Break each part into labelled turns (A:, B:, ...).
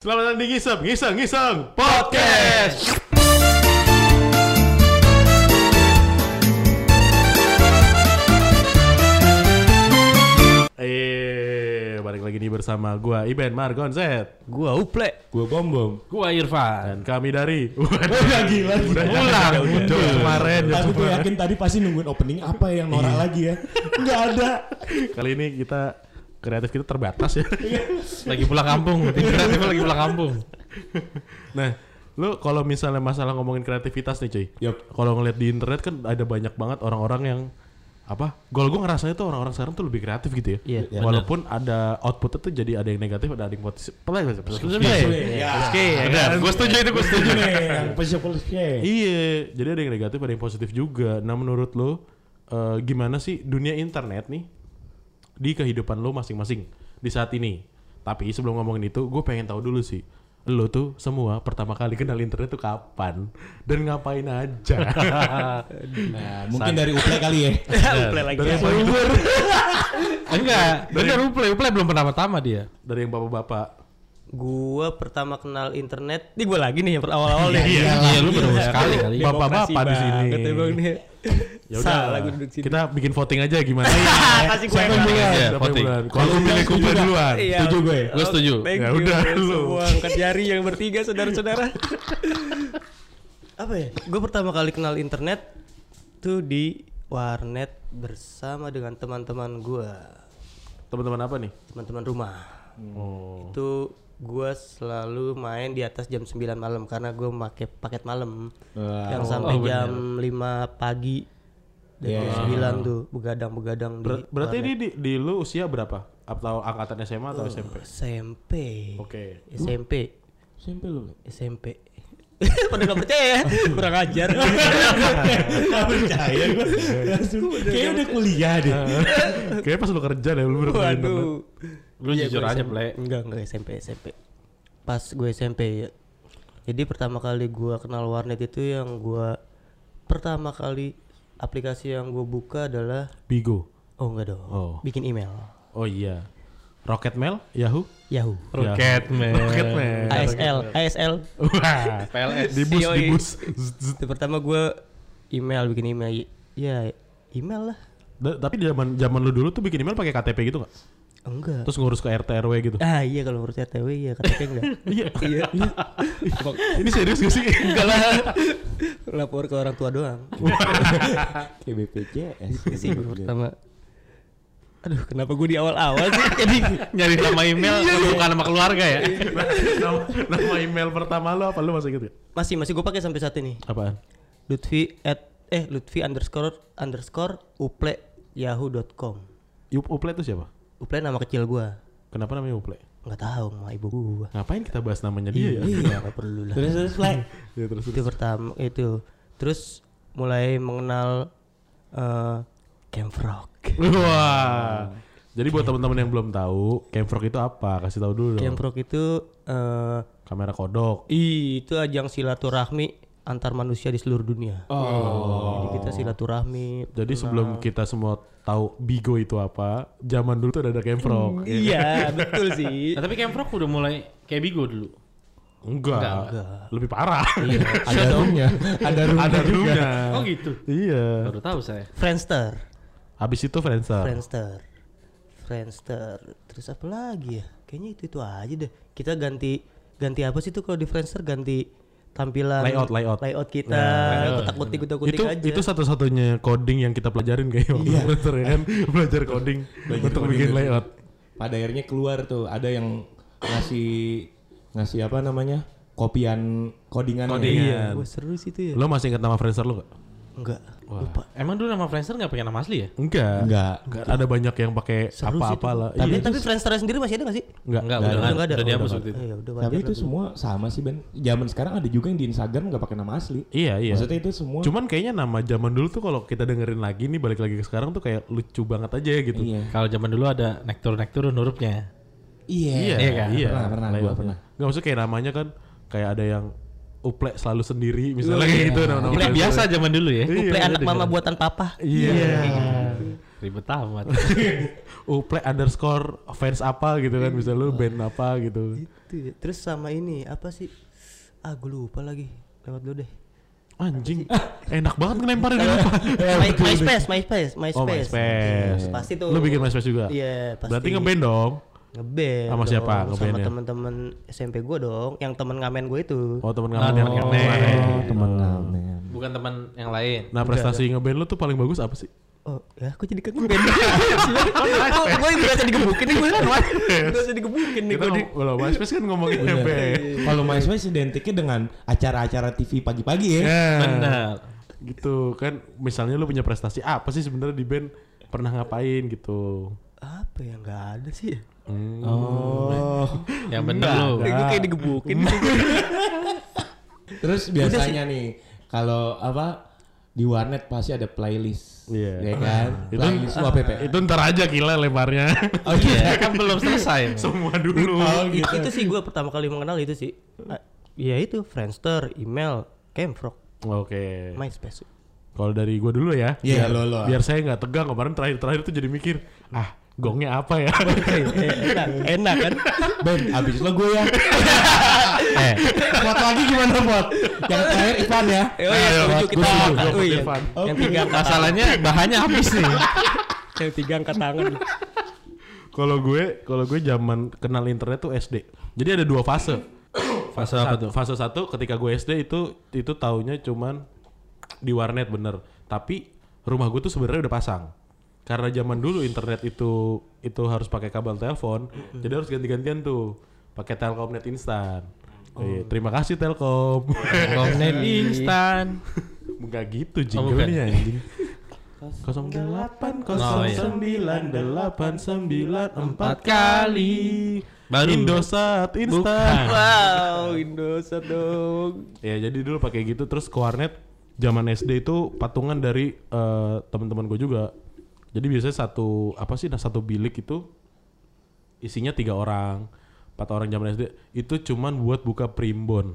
A: Selamat datang di Ngisem, Ngisem, Ngisem Podcast Eh, balik lagi nih bersama gua Iben Margonzet
B: Gua uple.
C: Gua bom bom.
B: Gua
A: Dan
B: Irfan.
A: kami dari
C: Udah gila.
A: Udah
C: gila.
A: ulang
B: udah, udah.
A: Udah, kemarin udah
C: Tapi gue
A: kemarin.
C: yakin tadi pasti nungguin opening apa yang
A: Iya.
C: norak lagi ya. Enggak ada.
A: Kali ini kita kreatif kita terbatas ya
B: Lagi pulang kampung. Tim kreatif lagi pulang kampung.
A: Nah, lu kalau misalnya masalah ngomongin kreativitas nih cuy
C: Yup.
A: Kalau ngeliat di internet kan ada banyak banget orang-orang yang apa? Gol gue ngerasanya tuh orang-orang sekarang tuh lebih kreatif gitu ya.
B: Iya, bener.
A: Walaupun ada outputnya tuh jadi ada yang negatif, ada yang positif.
C: Ya.
B: Oke, ya kan? Gua setuju itu gua setuju.
C: Ini nih yang pesikul
D: Eh.
A: Iya, jadi ada yang negatif, ada yang positif juga. Nah, menurut lo eh, gimana sih dunia internet nih di kehidupan lo masing-masing di saat ini? Tapi sebelum ngomongin itu, gue pengen tahu dulu sih. Lo tuh semua pertama kali kenal internet tuh kapan dan ngapain aja?
C: Nah, mungkin dari Uple kali ya.
A: Iya.
B: Uple lagi.
A: dari, yang paling tua,
B: Enggak, bener uple, uple belum pertama-tama dia.
A: dari yang bapak-bapak.
D: Gua pertama kenal internet, ini gua lagi nih yang per- awal-awal nih.
B: Iya, lu baru sekali kali.
A: Iya. Bapak-bapak
D: Demokrasi
A: di sini.
D: banget ya, Bang, nih.
A: Ya
D: Salah
A: udah,
D: gua duduk sini.
A: kita bikin voting aja gimana?
D: Ah, kasih gue.
C: Siapa yang mulai?
B: Iya,
A: Siapa yang
B: voting.
A: duluan? Kalau lu pilih kumpul duluan.
D: Iya.
C: Setuju gue.
B: Gua setuju.
A: Ya udah, lu.
D: Semua angkat jari yang bertiga saudara-saudara. Apa ya? Gue pertama kali kenal internet tuh di warnet bersama dengan teman-teman gua,
A: Teman-teman apa nih?
D: teman-teman rumah.
A: Oh.
D: Itu gua selalu main di atas jam 9 malam karena gua pakai paket malam
B: Oh,
D: yang
A: Oh,
D: sampai jam 5 pagi dari jam 9 tuh begadang-begadang di
A: Iya. Ber- berarti ini di, di lu usia berapa? Atau angkatan SMA atau SMP?
D: Oh. SMP.
A: Oke.
D: SMP.
C: Simple lu.
D: SMP. Pada gak percaya ya? Kurang ajar.
C: Gak percaya gue. Langsung. Kayaknya udah kuliah deh.
A: Iya. Kayaknya pas lu kerja deh lu baru kenal internet.
D: Waduh. Iya,
B: Lu jujur aja, Ple.
D: Enggak, enggak SMP, SMP. Pas gue SMP ya. Jadi pertama kali gua kenal warnet itu yang gua pertama kali aplikasi yang gue buka adalah
A: Bigo.
D: oh enggak dong.
A: Oh.
D: Bikin email.
A: Oh iya. Rocket Mail, Yahoo.
D: Yahoo.
A: Oh,
B: Rocketman.
A: Rocketman.
D: ASL, ASL.
A: Wah.
B: PLS.
A: Di bus, di
D: Yoi.
A: bus. Zzz, zzz.
D: Itu pertama gue email bikin email ya email lah
A: Da- Tapi di zaman zaman lu dulu tuh bikin email pakai KTP gitu nggak?
D: enggak
A: Terus ngurus ke RT RW gitu.
D: ah iya kalau menurut RTW iya KTP enggak
A: Iya. Iya. Ini serius gak sih? Enggak lah.
D: lapor ke orang tua doang
C: Kayak BPJS.
D: itu sih gua pertama aduh kenapa gue di awal-awal sih jadi
B: Nyari nama email
D: Iya,
B: bukan nama keluarga ya.
A: nama, nama email pertama lu apa lu masih inget gak?
D: masih masih gue pakai sampai saat ini
A: Apaan?
D: Lutfi at eh Lutfi underscore underscore uple yahoo.com
A: Yup Uple itu siapa?
D: uple nama kecil gue
A: Kenapa namanya Uple?
D: nggak tahu sama ibu gue
A: Ngapain kita bahas namanya dia ya?
D: iya nggak perlu lah
C: Terus terus play.
A: Ya terus
D: itu pertama itu terus mulai mengenal eh Camp Rock
A: Wah. Jadi buat teman-teman yang belum tahu, Camfrog itu apa? Kasih tahu dulu dong.
D: Camp Rock itu eh
A: Kamera kodok.
D: ih, itu ajang silaturahmi antar manusia di seluruh dunia
A: Oh.
D: jadi kita silaturahmi
A: Jadi sebelum kita semua tahu Bigo itu apa, zaman dulu tuh udah ada Camfrog.
D: iya betul sih
B: Nah, tapi Camp Rock udah mulai kayak bigo dulu.
A: Enggak. Lebih parah.
C: Ada roomnya. Ada room.
A: ada dulunya.
B: Oh gitu.
A: Iya.
B: Baru tahu saya.
D: Friendster
A: Habis itu Friendster.
D: Friendster Friendster terus apa lagi ya kayaknya itu itu aja deh kita ganti ganti apa sih tuh kalau di Friendster ganti tampilan
A: Layout, layout. Iya,
D: kita kotak kutik kotak kutik
A: Itu
D: aja
A: itu satu-satunya coding yang kita pelajarin kayak waktu Friendster ya kan. Belajar coding untuk
C: coding
A: bikin
C: dulu.
A: layout.
C: pada akhirnya keluar tuh ada yang ngasih ngasih apa namanya kopian Iya. codingan
D: Oh,
B: Iya.
A: Codingan.
D: Wah, seru sih itu ya
A: Lo masih ingat nama Friendster lo gak?
D: enggak lupa
B: Emang dulu nama Friendster nggak pakai nama asli ya?
A: Enggak.
C: Enggak.
A: Enggak. Ada banyak yang pakai apa-apa lah.
D: tapi
A: Iya.
D: tapi Friendster sendiri masih ada nggak sih
A: Enggak.
B: Enggak,
D: Udah
B: udah
D: nggak
B: nggak ada. Udah dihapus waktu itu.
D: Eh, ya udah wajar
C: tapi itu semua sama sih Ben zaman sekarang ada juga yang di Instagram nggak pakai nama asli
A: Iya, iya.
C: maksudnya itu semua
A: Cuman kayaknya nama zaman dulu tuh kalau kita dengerin lagi nih balik lagi ke sekarang tuh kayak lucu banget aja ya gitu.
C: iya
B: Kalau zaman dulu ada nektur nektur hurufnya.
C: iya
A: iya,
B: kan?
A: iya.
C: Pernah, pernah, gua pernah.
A: Enggak maksudnya kayak namanya kan kayak ada yang uplek selalu sendiri
B: Iya.
A: misalnya kayak gitu nama-nama.
B: Uplek biasa zaman dulu ya.
A: Iya,
D: Play anak
A: ada.
D: mama buatan papa
A: Iya.
B: Ribet amat.
A: Uple underscore fans apa gitu kan bisa lu band apa gitu
D: Itu ya. Terus sama ini apa sih? Ah gue lupa lagi. Lewat lu deh.
A: anjing enak banget ngelemparin ini
D: My, MySpace, MySpace, MySpace.
A: Eh, oh MySpace
D: Iya, Pasti tuh.
A: lu bikin MySpace juga
D: Iya, pasti.
A: berarti ngeband dong
D: Ngeband
A: Sama
D: dong,
A: siapa
D: Sama
A: ngebandnya?
D: teman-teman SMP gue dong, yang teman ngamen gue itu.
A: oh temen ngamen yang
C: Oh,
A: keren
C: teman ngamen.
B: Bukan teman yang lain.
A: nah prestasi ngeband lu tuh paling bagus apa sih
D: Oh, ya aku jadi kangen band. Gue biasa digebukin nih gue kan. Wan. Biasa digebukin nih
A: kita
D: gue.
A: ngom- kalau MySpace kan ngomongin
D: Iya.
C: Bener. Iya.
A: ngeband
C: Kalau MySpace identiknya dengan acara-acara TV pagi-pagi ya.
D: Iya. Nah.
B: Benar.
A: Iya. gitu kan misalnya lu punya prestasi apa sih sebenarnya di band pernah ngapain gitu Hmm.
D: Apa ya nggak ada sih? ya?
C: Oh.
B: Yang benar lu. Iya.
D: Eh, Gue kayak digebukin.
C: Terus biasanya nih kalau apa di warnet pasti ada playlist.
A: Iya.
C: Ya kan?
A: Itu-
C: playlist UAPP.
A: itu ntar aja gila lemparnya
B: Oh iya, kan belum selesai.
A: semua dulu
C: Oh
D: Itu, itu sih gue pertama kali mengenal itu sih. Ah, Ya itu Friendster, email, Camfrog,
A: Oke.
D: MySpace.
A: Kalau dari gua dulu ya. biar,
C: Iya, lo, lo.
A: biar saya nggak tegang kemarin terakhir-terakhir tuh jadi mikir, ah, gongnya apa ya?
D: Eh, enak, enak kan?
C: Ben, abis lo gue ya. eh, buat lagi gimana buat? Yang terakhir Ivan ya.
D: Oh iya,
A: Ayo,
D: setuju
A: Mas,
D: kita.
A: gua setuju, gua
D: angkat. Oh,
A: setuju,
D: iya.
A: Van.
D: Yang tiga angkat tangan.
B: Masalahnya bahannya habis nih.
D: Yang tiga angkat tangan.
A: kalau gue, kalau gue zaman kenal internet tuh SD. Jadi ada dua fase.
B: Fase
A: Satu- Fase satu ketika gue SD itu itu taunya cuman di warnet bener. Tapi rumah gue tuh sebenarnya udah pasang. Karena zaman dulu internet itu itu harus pakai kabel telepon, jadi harus ganti-gantian tuh pakai Telkomnet instan. Iya, terima kasih Telkom.
B: Komnen instan.
A: Enggak gitu
B: Oh, bukan.
A: jinglenya anjing. 08
B: Oh, iya.
A: 09 894
B: Empat
A: kali
B: Baru.
A: Indosat instan.
D: Wow, Indosat dong.
A: Ya jadi dulu pakai gitu terus ke warnet zaman SD itu patungan dari eh, teman-teman gue juga. Jadi biasanya satu apa sih nah satu bilik itu isinya tiga orang, empat orang zaman SD itu cuman buat buka primbon.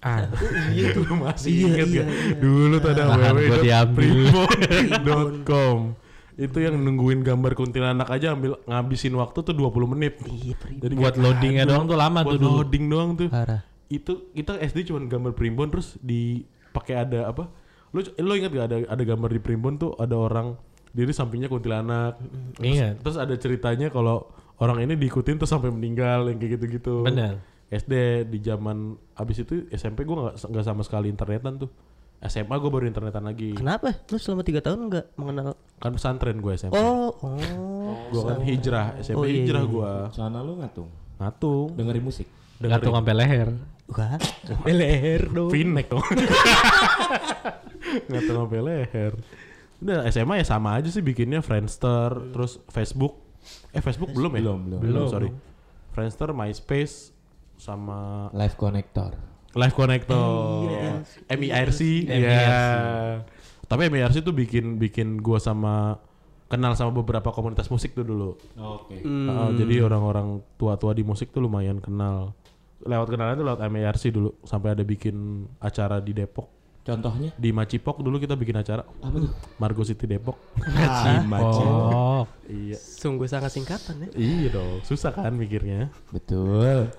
A: Ah, iya tuh masih inget gak? Dulu tuh ada
B: Lahan gua diambil.
A: www.primbon.com itu yang nungguin gambar kuntilanak aja ambil ngabisin waktu tuh 20 menit.
D: Iya, Primbon.
A: Jadi
B: Buat
A: kayak,
B: loadingnya
A: aduh,
B: doang tuh lama
A: buat
B: tuh dulu.
A: loading doang tuh
B: Parah.
A: itu kita SD cuman gambar primbon terus dipakai ada apa lu lu ingat gak ada ada gambar di primbon tuh ada orang diri sampingnya kuntilanak
B: Ingat.
A: terus ada ceritanya kalau orang ini diikutin terus sampai meninggal yang kayak gitu-gitu
B: Bener.
A: SD di zaman abis itu SMP gua nggak nggak sama sekali internetan tuh SMA gua baru internetan lagi
D: Kenapa? Lu selama tiga tahun nggak mengenal?
A: kan pesantren gua SMP
D: Oh, oh.
A: gua kan hijrah SMP
D: Oh, iya,
A: hijrah
D: iya.
A: gua
C: Sana lu ngatung,
A: ngatung
C: dengerin musik.
B: Gantung sampai leher.
D: Wah, leher dong.
A: Pinek dong. Nggak tahu sampai leher. Udah SMA ya sama aja sih bikinnya Friendster, terus Facebook. Eh Facebook belum ya?
C: Belum, belum.
A: Belum, sorry. Friendster, MySpace, sama
C: Live Connector.
A: Live Connector, MIRC, ya. Tapi MIRC tuh bikin bikin gua sama kenal sama beberapa komunitas musik tuh dulu.
C: Oke.
A: Heeh, jadi orang-orang tua-tua di musik tuh lumayan kenal. Lewat kenalan tuh lewat MIRC dulu sampai ada bikin acara di Depok.
C: Contohnya?
A: Di Macipok dulu kita bikin acara. Margo City Depok.
B: Oh.
A: iya.
D: Sungguh sangat singkatan ya.
A: Iya dong, susah kan mikirnya.
C: Betul.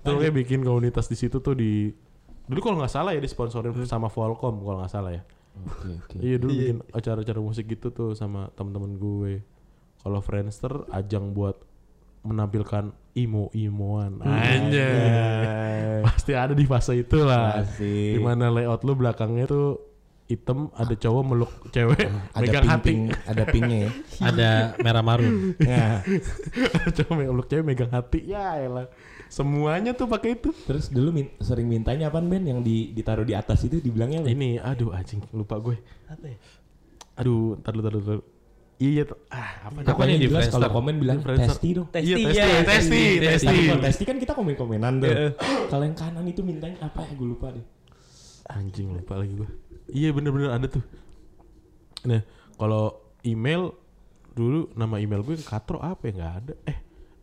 A: Terus kayak bikin komunitas di situ tuh di dulu kalau nggak salah ya disponsorin sama Volcom kalau nggak salah ya.
C: Oke, oke.
A: Iya dulu bikin acara-acara musik gitu tuh sama teman-teman gue. Kalau Friendster ajang buat menampilkan imo-imoan. Anjay. Pasti ada di fase itulah.
C: Pasti.
A: Dimana layout lu belakangnya tuh item ada cowok meluk cewek
C: Ada
A: megang hati. Ya.
C: ping-ping, ada pingnya ya.
B: Ada merah marun.
C: Nah,
A: cowok meluk cewek megang hati. Ya elah. Semuanya tuh pakai itu.
C: terus dulu min- sering mintanya apaan Ben yang di ditaruh di atas itu dibilangnya apa?
A: Ini aduh anjing lupa gue.
D: Apa ya?
A: Aduh, entar dulu, entar dulu. Iya, tuh. ah, apa
B: Pokoknya
C: Pokoknya
B: di
C: jelas
B: Friendster.
C: kalau komen bilang
A: Friendster.
C: testi dong.
D: Testi,
A: Iya,
D: ya,
A: testi, testi,
B: testi.
A: testi.
C: Tapi kalau testi kan kita komen-komenan tuh. Kalau yang kanan itu mintanya apa ya? Gue lupa deh.
A: Anjing lupa lagi gue. Iya bener-bener ada tuh. Nah kalau email dulu nama email gue yang katro apa ya nggak ada. Eh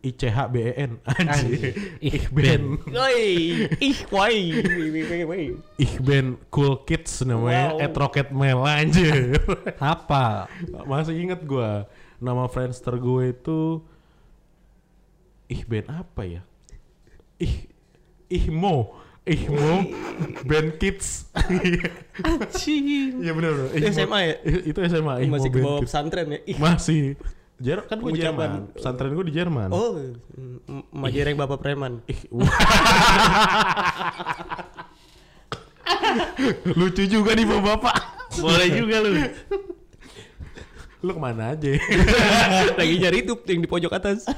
A: ICHBEN anjir. Ichben.
D: Woi, ih, woi, woi, woi, woi.
A: Ichben Cool Kids namanya,
D: Wow.
A: at Rocket Mail anjir.
B: Apa?
A: Masih inget gua nama Friendster gue itu Ichben apa ya? Ih Ihmo, Ihmo Band Kids.
D: Anjing.
A: Iya benar. benar.
D: Itu
A: Ihmo-
D: SMA ya?
A: Itu SMA Ihmo
D: Masih ke
A: Band
D: bawah
A: Kids.
D: pesantren ya? Ih.
A: Masih. Jer kan gue
D: Pengucapan.
A: Jerman. Pesantren gue di Jerman.
D: Oh, mm, mm, majereng Bapak Preman.
A: Ih, wah. Lucu juga nih bapak-bapak.
B: Boleh juga lu.
A: Lu kemana aja?
D: Lagi nyari itu yang di pojok atas.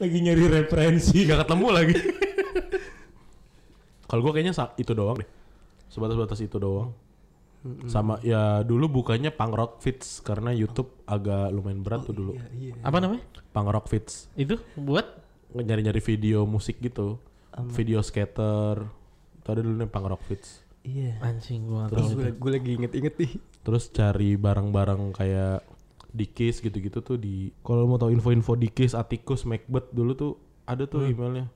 C: Lagi nyari referensi.
A: Gak ketemu lagi. Kalau gue kayaknya sa- itu doang deh. Sebatas-batas itu doang. Sama ya dulu bukannya Punk Rock Fits karena YouTube agak lumayan berat
D: Oh,
A: tuh dulu.
D: iya.
B: Apa namanya?
A: Punk Rock Fits.
B: Itu buat
A: Nyari-nyari video musik gitu. Video skater. Itu ada dulu nih Punk Rock Fits.
D: Iya.
B: anjing gua nggak tahu.
D: Terus gue lagi inget-inget nih.
A: Terus cari barang-barang kayak Dikis gitu-gitu tuh di kalau mau tahu info-info Dikis, Atikus, Macbeth dulu tuh ada tuh emailnya.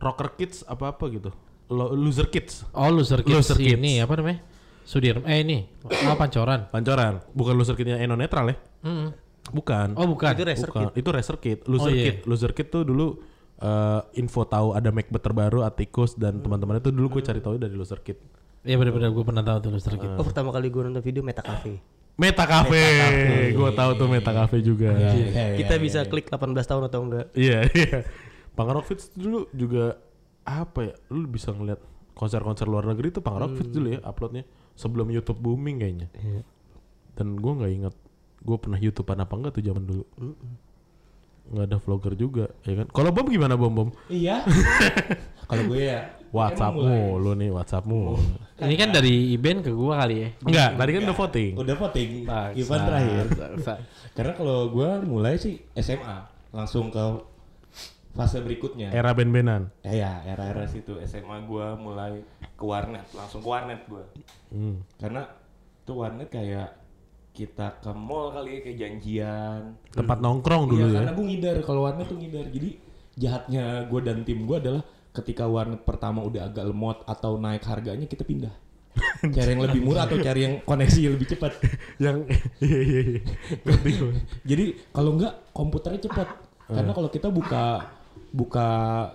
A: Rocker Kids apa-apa gitu. Lo- Loser Kids.
B: Oh, loser kids
A: Loser Kids.
B: ini apa namanya? Sudirman eh ini apa pancoran?
A: Pancoran. Bukan Loser Kidnya Eno Netral ya?
B: Mm-mm.
A: Bukan.
B: Oh, bukan.
D: Itu racer
A: Bukan.
D: kit.
A: Itu Racer Kid. Oh, Loser
B: iya.
A: Kid. Loser Kid tuh dulu eh, info tahu ada Macbeth terbaru, Atikus dan teman-temannya tuh dulu gue cari tahu dari Loser Kid.
B: Ya benar-benar gue pernah tahu tuh loser kids.
D: Oh, pertama kali gue nonton video Meta Cafe.
A: Meta Cafe. Iya. Gue tahu tuh Meta Cafe juga.
C: Iya.
D: Kita bisa klik 18 tahun atau enggak.
A: Iya, iya. Punk Rock Fits dulu juga apa ya? Lu bisa ngeliat konser-konser luar negeri tuh Punk Rock Fits dulu
C: Hmm.
A: ya uploadnya sebelum YouTube booming kayaknya.
C: Iya.
A: Dan gua nggak ingat gua pernah YouTubean apa enggak tuh zaman dulu. Nggak ada vlogger juga, ya kan? Kalau Bom gimana Bom Bom?
C: Iya. Kalau gue ya
A: WhatsAppmu, lu nih
C: Oh.
A: WhatsAppmu.
B: Ini kan dari Iben ke gua kali ya.
A: Enggak, tadi kan udah voting.
C: udah voting Ivan terakhir. Karena kalau gue mulai sih SMA langsung ke fase berikutnya.
A: Era ben-benan.
C: Eh, ya, era-era situ SMA gua mulai ke warnet, langsung ke warnet gua.
A: Hmm.
C: Karena itu warnet kayak kita ke mall kali ya, kayak janjian.
A: Tempat nongkrong
C: Iya,
A: dulu ya.
C: karena gua ngidar kalau warnet tuh ngidar. Jadi jahatnya gua dan tim gua adalah ketika warnet pertama udah agak lemot atau naik harganya kita pindah. cari yang lebih murah atau cari yang koneksi lebih cepat.
A: Yang iya iya iya. Ngerti gua.
C: Jadi kalau enggak komputernya cepat. Karena kalau kita buka buka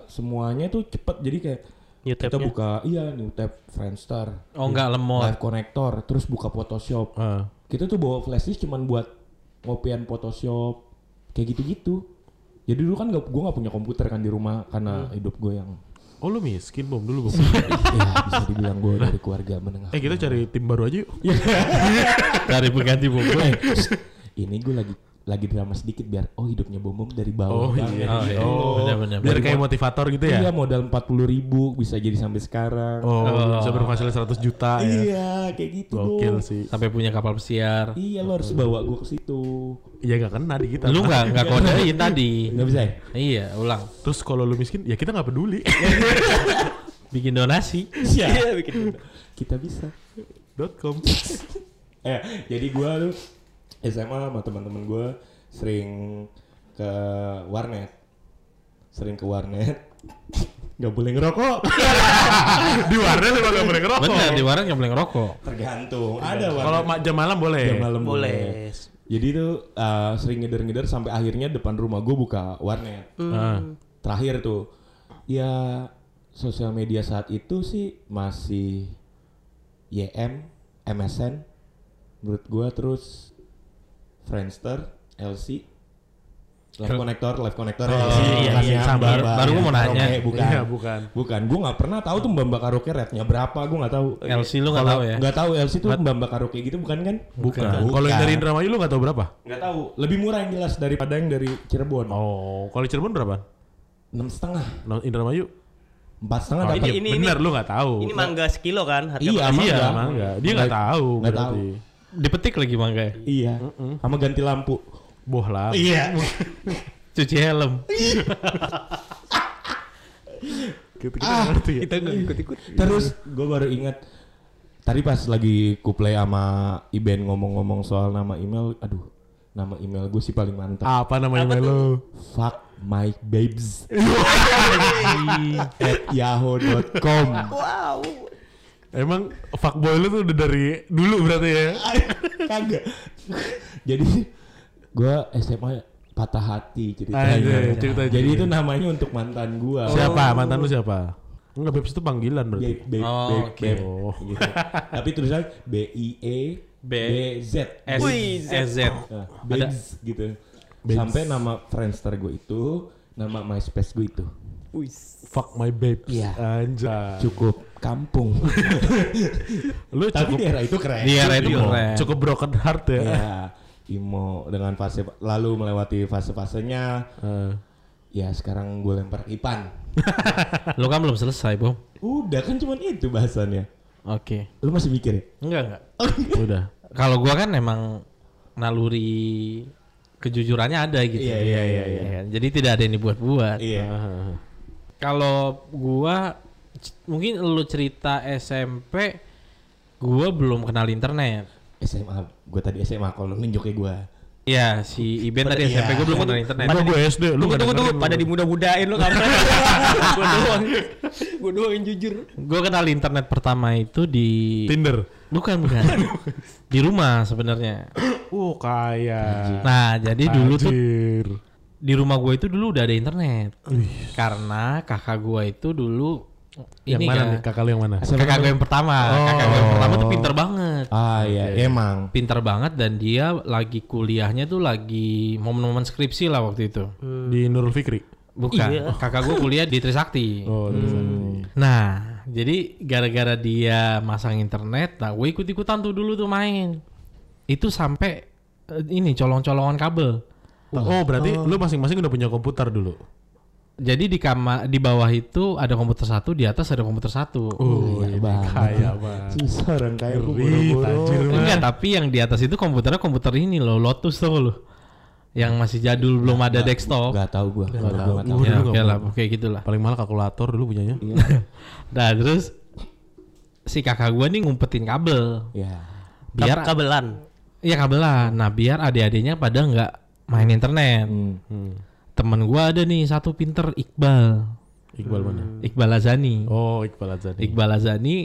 C: semuanya tuh cepat. Jadi kayak
D: New
C: kita
D: tab-nya.
C: buka iya new tab Friendster
B: Oh, enggak lemot.
C: live connector terus buka Photoshop
A: Ah.
C: kita tuh bawa flash disk cuman buat ngopian Photoshop kayak gitu-gitu jadi dulu kan gak, gue gak punya komputer kan di rumah karena
A: Hmm.
C: hidup gue yang
A: Oh lu miskin Bom dulu Bom.
C: ya bisa dibilang gue dari keluarga menengah
A: eh kita cari tim baru aja yuk.
C: Iya,
B: Dari pengganti buku.
C: Eh, ini gue lagi lagi drama sedikit biar oh hidupnya bom bom dari
A: Oh
C: bawah banget.
A: iya.
B: Oh, iya. Benar-benar.
A: Biar kayak motivator gitu ya.
C: Iya, modal 40 ribu bisa jadi sampai sekarang
A: Oh, bisa berpenghasilan 100 juta ya.
C: iya kayak gitu
A: Gokil
C: dong.
A: sih.
B: Sampai punya kapal pesiar.
C: iya lo harus bawa gue ke situ
A: Ya gak kena di kita.
B: Lu nggak nggak kodein tadi.
C: nggak bisa ya
B: Iya, ulang.
A: Terus kalau lu miskin, ya kita nggak peduli.
B: Bikin donasi.
D: Iya, bikin gitu.
C: kita bisa
A: Dotcom.
C: eh jadi gua tuh SMA sama teman-teman gua sering ke warnet sering ke warnet nggak boleh ngerokok
A: di warnet emang gak boleh ngerokok.
B: Bener, di warung nggak boleh ngerokok.
C: tergantung ada
A: Kalau
C: warnet
A: ma- jam malam boleh.
C: jam malam
D: Boleh.
C: jadi tuh eh, sering ngeder-ngeder sampai akhirnya depan rumah gua buka warnet
A: Ah.
C: terakhir tuh ya sosial media saat itu sih masih YM, MSN, menurut gua terus Friendster, LC, Live Connector, Live Connector, LC,
B: iya,
C: bukan
B: iya,
C: yang
B: sama.
C: Mbak
B: Baru gua mau
C: Karaoke,
B: nanya.
C: bukan,
A: Iya, bukan.
C: bukan, gua nggak pernah tahu tuh Mbak Mbak Karaoke rate-nya berapa, gua nggak tahu.
B: LC lu nggak tahu ya?
C: Nggak tahu LC tuh Mbak Mbak Karaoke gitu bukan kan?
A: Bukan. Kalau
C: Iya.
A: yang dari Indramayu lu gak tahu berapa?
C: nggak tahu, lebih murah yang jelas daripada yang dari Cirebon.
A: Oh, kalau Cirebon berapa?
C: Enam setengah,
A: No, Indramayu?
C: empat setengah
A: Oh,
C: dapat.
A: iya,
D: ini-
A: bener lu gak tahu.
D: Ini mangga sekilo kan harga
C: Iya,
D: berapa?
A: Iya,
B: Ah.
C: mangga.
A: mangga. Dia gak tahu
C: Nggak
A: berarti.
B: Dipetik lagi mangga. ya?
C: Iya. Sama ganti lampu.
A: Boh lah.
C: Iya.
B: Cuci helm.
A: Kita kita
C: ah.
A: ngerti ya.
D: Kita nggak ikut-ikut.
C: Iya. Terus gue baru ingat tadi pas lagi kuplay sama Iben ngomong-ngomong soal nama email, aduh, Nama email gue sih paling mantap.
A: Apa namanya email lo?
C: Fuck my babes at yahoo.com.
D: Wow.
A: Emang fuckboy lu tuh udah dari dulu berarti ya?
C: Kagak. Jadi gue SMA patah hati ceritanya.
A: Anjay, Oh. cerita-
C: Jadi
A: cerita.
C: itu namanya untuk mantan gue.
A: Siapa? Mantan lu siapa? Enggak, Babes itu panggilan
C: Babe,
A: berarti.
C: babe,
B: Oh,
C: babe,
B: oke.
C: babe. Gitu. Tapi tulisannya B I E B Z.
B: S SZ.
C: Nah, babes gitu. Sampai nama Friendster gue itu, nama MySpace gue itu.
A: Fuck my babes.
C: Iya.
A: Anjay.
C: Cukup kampung.
A: Lu
C: Tapi ya,
A: cukup
C: daerah itu keren.
B: Dia itu
A: cukup-
B: keren.
A: Iya. cukup broken heart ya.
C: Ya, Imo dengan fase lalu melewati fase-fasenya.
A: Eh.
C: Ya sekarang gue lempar Ipan.
B: Lu kan belum selesai, Bom.
C: Udah kan cuman itu bahasannya.
B: Oke.
C: Lu masih mikir ya?
B: Enggak, enggak.
A: Udah.
B: Kalau gua kan emang naluri kejujurannya ada gitu.
C: Iya, iya, iya, iya.
B: kan? Jadi tidak ada yang dibuat-buat.
C: Iya.
B: Kalau gua c- mungkin lu cerita SMP gua belum kenal internet.
C: SMA, gue tadi SMA kalau nunjuknya gue.
B: Iya, si Iben tadi
C: Iya.
B: SMP gua belum kenal internet.
A: Gua gue SD, lu
D: Tunggu
A: nggak
D: tunggu tunggu
A: dengerin.
D: pada dimudah-mudahin lu kampret. Gua doang. Gua doang yang jujur.
B: Gua kenal internet pertama itu di
A: Tinder.
B: bukan bukan. di rumah sebenarnya.
A: Uh, kaya.
B: Nah, jadi dulu tuh
A: Anjir.
B: di rumah gue itu dulu udah ada internet. Karena kakak gue itu dulu
A: Yang
B: ini
A: mana
B: kan,
A: nih? Kakak lu yang mana?
B: kakak gue yang pertama. Kakak gue yang
A: Oh.
B: pertama tuh pinter banget.
C: Ah iya, emang.
B: Pinter banget dan dia lagi kuliahnya tuh lagi momen-momen skripsi lah waktu itu.
A: Di Nurul Fikri.
B: Bukan. Kakak gue kuliah di Trisakti.
A: Iya. Oh,
B: Nah, jadi gara-gara dia masang internet, nah gue ikut-ikutan tuh dulu tuh main. Itu sampai eh, ini colong-colongan kabel.
A: oh berarti lu masing-masing udah punya komputer dulu.
B: Jadi di kamar di bawah itu ada komputer satu, di atas ada komputer satu.
A: Oh,
C: Iya,
A: ini
C: Bang.
A: kaya banget.
C: Susah orang kaya gue
A: Ih, tajir banget.
B: Enggak, tapi yang di atas itu komputernya komputer ini loh, Lotus tuh loh. Yang masih jadul belum ada desktop.
C: Gak tau gue. Gak
A: Gua
C: tau.
A: dulu
B: Ya,
A: nggak
B: oke lah,
A: punya.
B: oke gitulah.
A: Paling mahal kalkulator dulu punyanya.
B: Nah, terus si kakak gua nih ngumpetin kabel
C: Iya.
B: biar
D: Kab- kabelan.
B: Iya kabelan. Nah biar adik-adiknya pada nggak main internet.
C: Hmm.
B: Temen gua ada nih satu pinter Iqbal,
A: Iqbal mana?
B: Iqbal Azani.
A: Oh, Iqbal Azani.
B: Iqbal Azani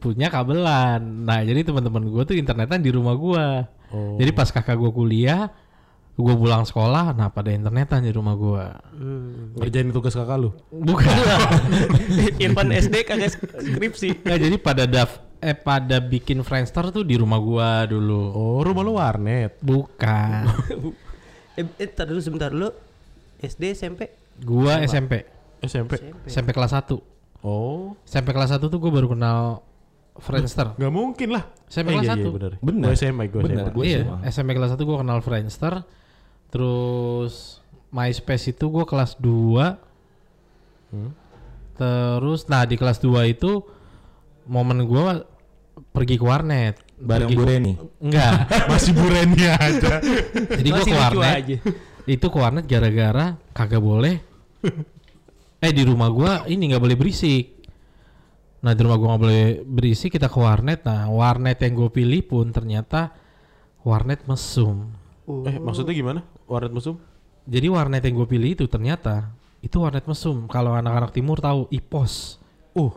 B: punya kabelan. Nah jadi teman-teman gua tuh internetan di rumah gua.
A: Oh.
B: Jadi pas kakak gua kuliah, gua pulang sekolah, nah pada internetan di rumah gua.
A: Ngerjain tugas kakak lu.
B: Bukan.
D: Irfan SD kagak skripsi.
B: nah, jadi pada daf eh pada bikin Friendster tuh di rumah gua dulu.
A: Oh, rumah lu warnet.
B: Bukan.
D: Eh, eh tar dulu sebentar lu. SD SMP
B: gua SMP.
A: SMP.
B: SMP kelas 1.
A: Oh,
B: SMP kelas 1 tuh gue baru kenal Friendster.
A: nggak mungkin lah.
B: SMP
A: Eh,
B: kelas
A: iya, iya,
B: satu.
A: bener.
C: Bener.
A: Gua SMA, gue
C: Bener,
A: SMA.
C: gua
B: iya,
C: SMA.
B: SMP kelas 1 gue kenal Friendster. Terus MySpace itu gue kelas 2.
C: Hmm.
B: Terus nah di kelas 2 itu momen gue pergi ke warnet.
C: Bareng
B: Pergi-
C: Bu Reni.
B: Enggak.
A: Masih burennya aja.
B: Jadi gue
D: Masih
B: ke
D: lucu
B: warnet.
D: aja.
B: Itu ke warnet gara-gara kagak boleh. Eh di rumah gua ini nggak boleh berisik. Nah di rumah gua nggak boleh berisik kita ke warnet. Nah warnet yang gue pilih pun ternyata warnet mesum.
A: eh, maksudnya gimana? Warnet musuh?
B: Jadi warnet yang gue pilih itu ternyata itu warnet mesum. Kalau anak-anak timur tahu ipos
A: Uh.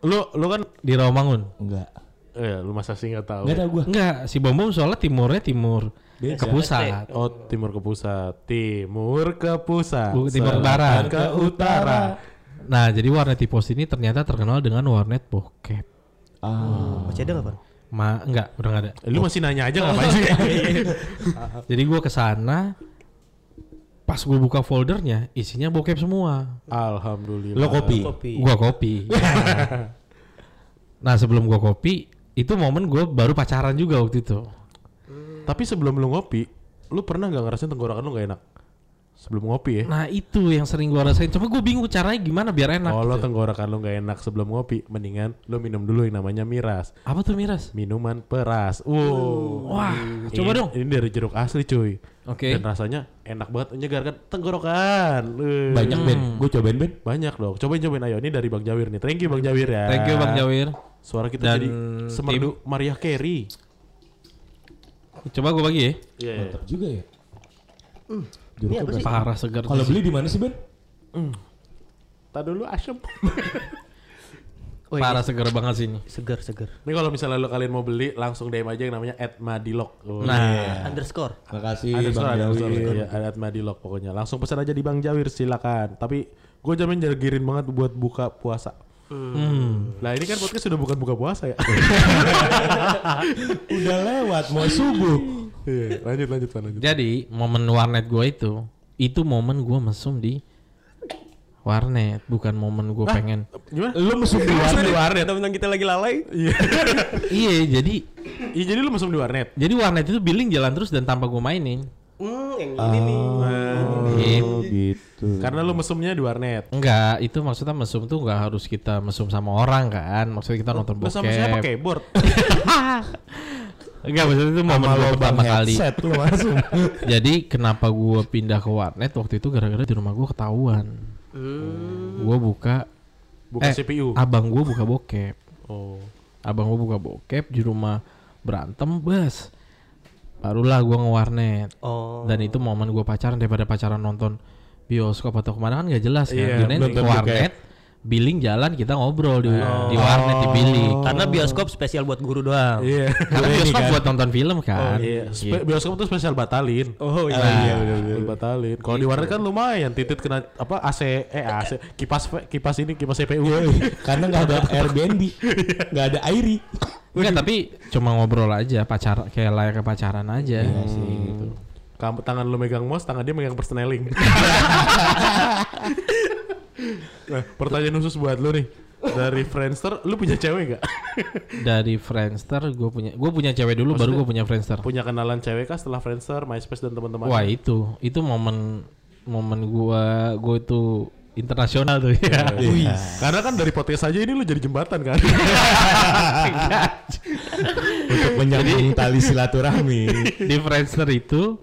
A: Lu lu kan
B: di Rawamangun.
C: Enggak.
A: eh lu masa sih nggak tahu.
C: Enggak tau gue.
B: Enggak, si Bombom soalnya timurnya timur
C: Beda.
B: ke pusat.
A: Oh, timur ke pusat, timur ke pusat,
B: Bu, timur
A: selatan
B: Nah, ke barat.
A: ke utara.
B: Nah, jadi warnet ipos ini ternyata terkenal dengan warnet bokep.
C: Ah.
D: Oh, Masih ada enggak, Pan?
B: Ma, enggak, udah enggak ada.
A: Eh, Lu masih nanya aja ngapain
B: Iya,
A: sih?
B: Jadi gua ke sana pas gue buka foldernya isinya bokep semua.
A: Alhamdulillah.
C: Lo kopi.
D: Kopi.
B: Gua kopi. nah, sebelum gua kopi, itu momen gue baru pacaran juga waktu itu.
A: Tapi sebelum lu ngopi, lu pernah nggak ngerasain tenggorokan lu nggak enak? Sebelum ngopi ya?
B: Nah, itu yang sering gua rasain. Cuma gue bingung caranya gimana biar enak.
A: Kalau
B: gitu.
A: Oh, tenggorokan lu nggak enak sebelum ngopi, mendingan lu minum dulu yang namanya miras,
B: Apa tuh miras?
A: minuman peras. Wow.
B: Wah,
A: Ini-
B: coba dong.
A: Ini dari jeruk asli cuy.
B: Oke.
A: Dan rasanya enak banget menyegarkan tenggorokan. Eh,
C: Banyak Ben. Gue cobain Ben.
A: Banyak dong. Cobain cobain ayo ini dari Bang Jawir nih. Thank you Bang Jawir ya.
B: Thank you Bang Jawir.
A: Suara kita
B: Dan
A: jadi semerdu Mariah Carey.
B: Coba gue bagi ya.
A: Iya, iya.
C: Mantap juga ya. Hmm.
D: Ini
C: Jeruknya
D: apa
C: berasa.
D: sih?
B: Parah segar.
C: Kalau
B: sih.
C: beli di mana sih Ben?
A: Tadi dulu asem.
D: Oh, ini
B: parah segar banget sih ini.
D: segar segar.
A: Ini kalau misalnya lo kalian mau beli langsung DM aja yang namanya @madilog. Oh.
B: Nah,
D: Underscore.
C: Iya. Makasih
A: ada
C: iya, Bang
A: ada
C: Jawi. Iya.
A: ya, ada @madilog pokoknya. Langsung pesan aja di Bang Jawir silakan. Tapi gue jamin jargirin banget buat buka puasa. Nah ini kan podcast sudah bukan buka puasa ya.
C: Udah lewat mau subuh.
A: Iya, lanjut lanjut Van, lanjut.
B: jadi momen warnet gue itu, itu momen gue mesum di warnet, bukan momen gue pengen.
A: Gimana?
C: Lu musuh di warnet.
D: warnet. Teman kita lagi lalai.
B: iya, jadi
A: Iya jadi lu masuk di warnet.
B: jadi warnet itu billing jalan terus dan tanpa gue mainin.
D: Hmm, yang ini nih. Oh.
B: Gitu.
C: gitu.
A: Karena lu mesumnya di warnet.
B: Enggak, itu maksudnya mesum tuh enggak harus kita mesum sama orang kan. Maksudnya kita nonton
A: Lu
B: bokep.
A: sama siapa keyboard?
B: Enggak, maksudnya itu momen
C: Sama
B: gua
C: lo
B: pertama kali.
C: headset lu masuk.
B: Jadi kenapa gua pindah ke warnet waktu itu gara-gara di rumah gua ketahuan.
A: Hmm.
B: Gua buka
A: Bukan
B: Eh,
A: CPU.
B: abang gua buka bokep.
A: Oh.
B: Abang gua buka bokep di rumah berantem bas. Barulah gua nge warnet.
D: Oh.
B: Dan itu momen gua pacaran daripada pacaran nonton bioskop atau kemana kan nggak jelas kan.
A: Iya,
B: Jadinya
C: nonton
B: ke warnet, billing jalan kita ngobrol di,
A: Oh.
B: di warnet di billing.
A: Kan
D: Karena bioskop spesial buat guru doang.
A: Iya.
B: Karena bioskop buat nonton film
A: Oh,
B: kan.
A: iya. Spe- Bioskop tuh spesial batalin.
D: Oh
C: Ah, iya bener, bener.
A: Lu batalin. Kalau di warnet kan lumayan titit kena apa AC eh AC kipas kipas ini kipas CPU.
C: Karena nggak ada Airbnb, nggak ada Airi.
B: Enggak, tapi cuma ngobrol aja, pacar kayak layaknya pacaran aja.
A: Iya
B: gitu.
A: Kamu tangan lu megang mouse, tangan dia megang persneling. nah, pertanyaan khusus buat lu nih. Dari Friendster, lu punya cewek gak?
B: Dari Friendster gue punya gue punya cewek dulu baru gue punya Friendster.
A: punya kenalan cewek kah setelah Friendster, MySpace dan teman-teman?
B: Wah, iya. itu itu momen momen gua gue itu internasional tuh ya.
A: Wih. Karena kan dari podcast aja ini lu jadi jembatan kan? Iya.
C: Untuk menyambung tali silaturahmi.
B: Di Friendster itu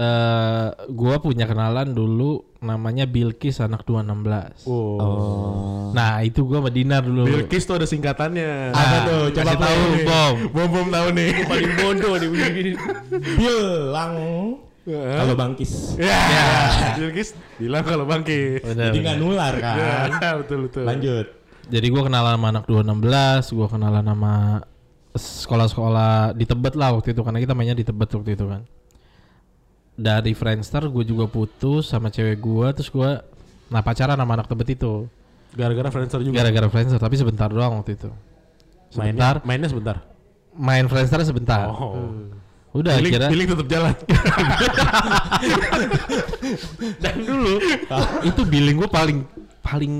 B: eh gua punya kenalan dulu namanya Bilkis anak 216.
A: oh.
B: Nah, itu gua sama Dinar dulu.
A: Bilkis tuh ada singkatannya.
B: Apa tuh?
A: Coba
B: Coba tahu, Bom.
A: Bom bom tahu nih.
D: Paling bodoh nih begini.
C: Bilang kalau bangkis.
A: Ya. Bilkis bilang kalau bangkis.
B: Bener,
C: Jadi
B: bener.
C: nggak nular kan.
A: Ya, betul betul.
C: Lanjut.
B: Jadi gue kenalan sama anak 216, gue kenalan sama sekolah-sekolah di Tebet lah waktu itu karena kita mainnya di Tebet waktu itu kan. Dari Friendster gue juga putus sama cewek gue terus gue nah pacaran sama anak Tebet itu
A: Gara-gara Friendster juga.
B: gara-gara Friendster tapi sebentar doang wakti itu.
A: mainnya,
B: Sebentar
A: mainnya sebentar.
B: main Friendster sebentar.
A: Oh.
B: Udah
A: Billing,
B: kira
A: billing tetap jalan.
B: dan dulu itu billing gue paling paling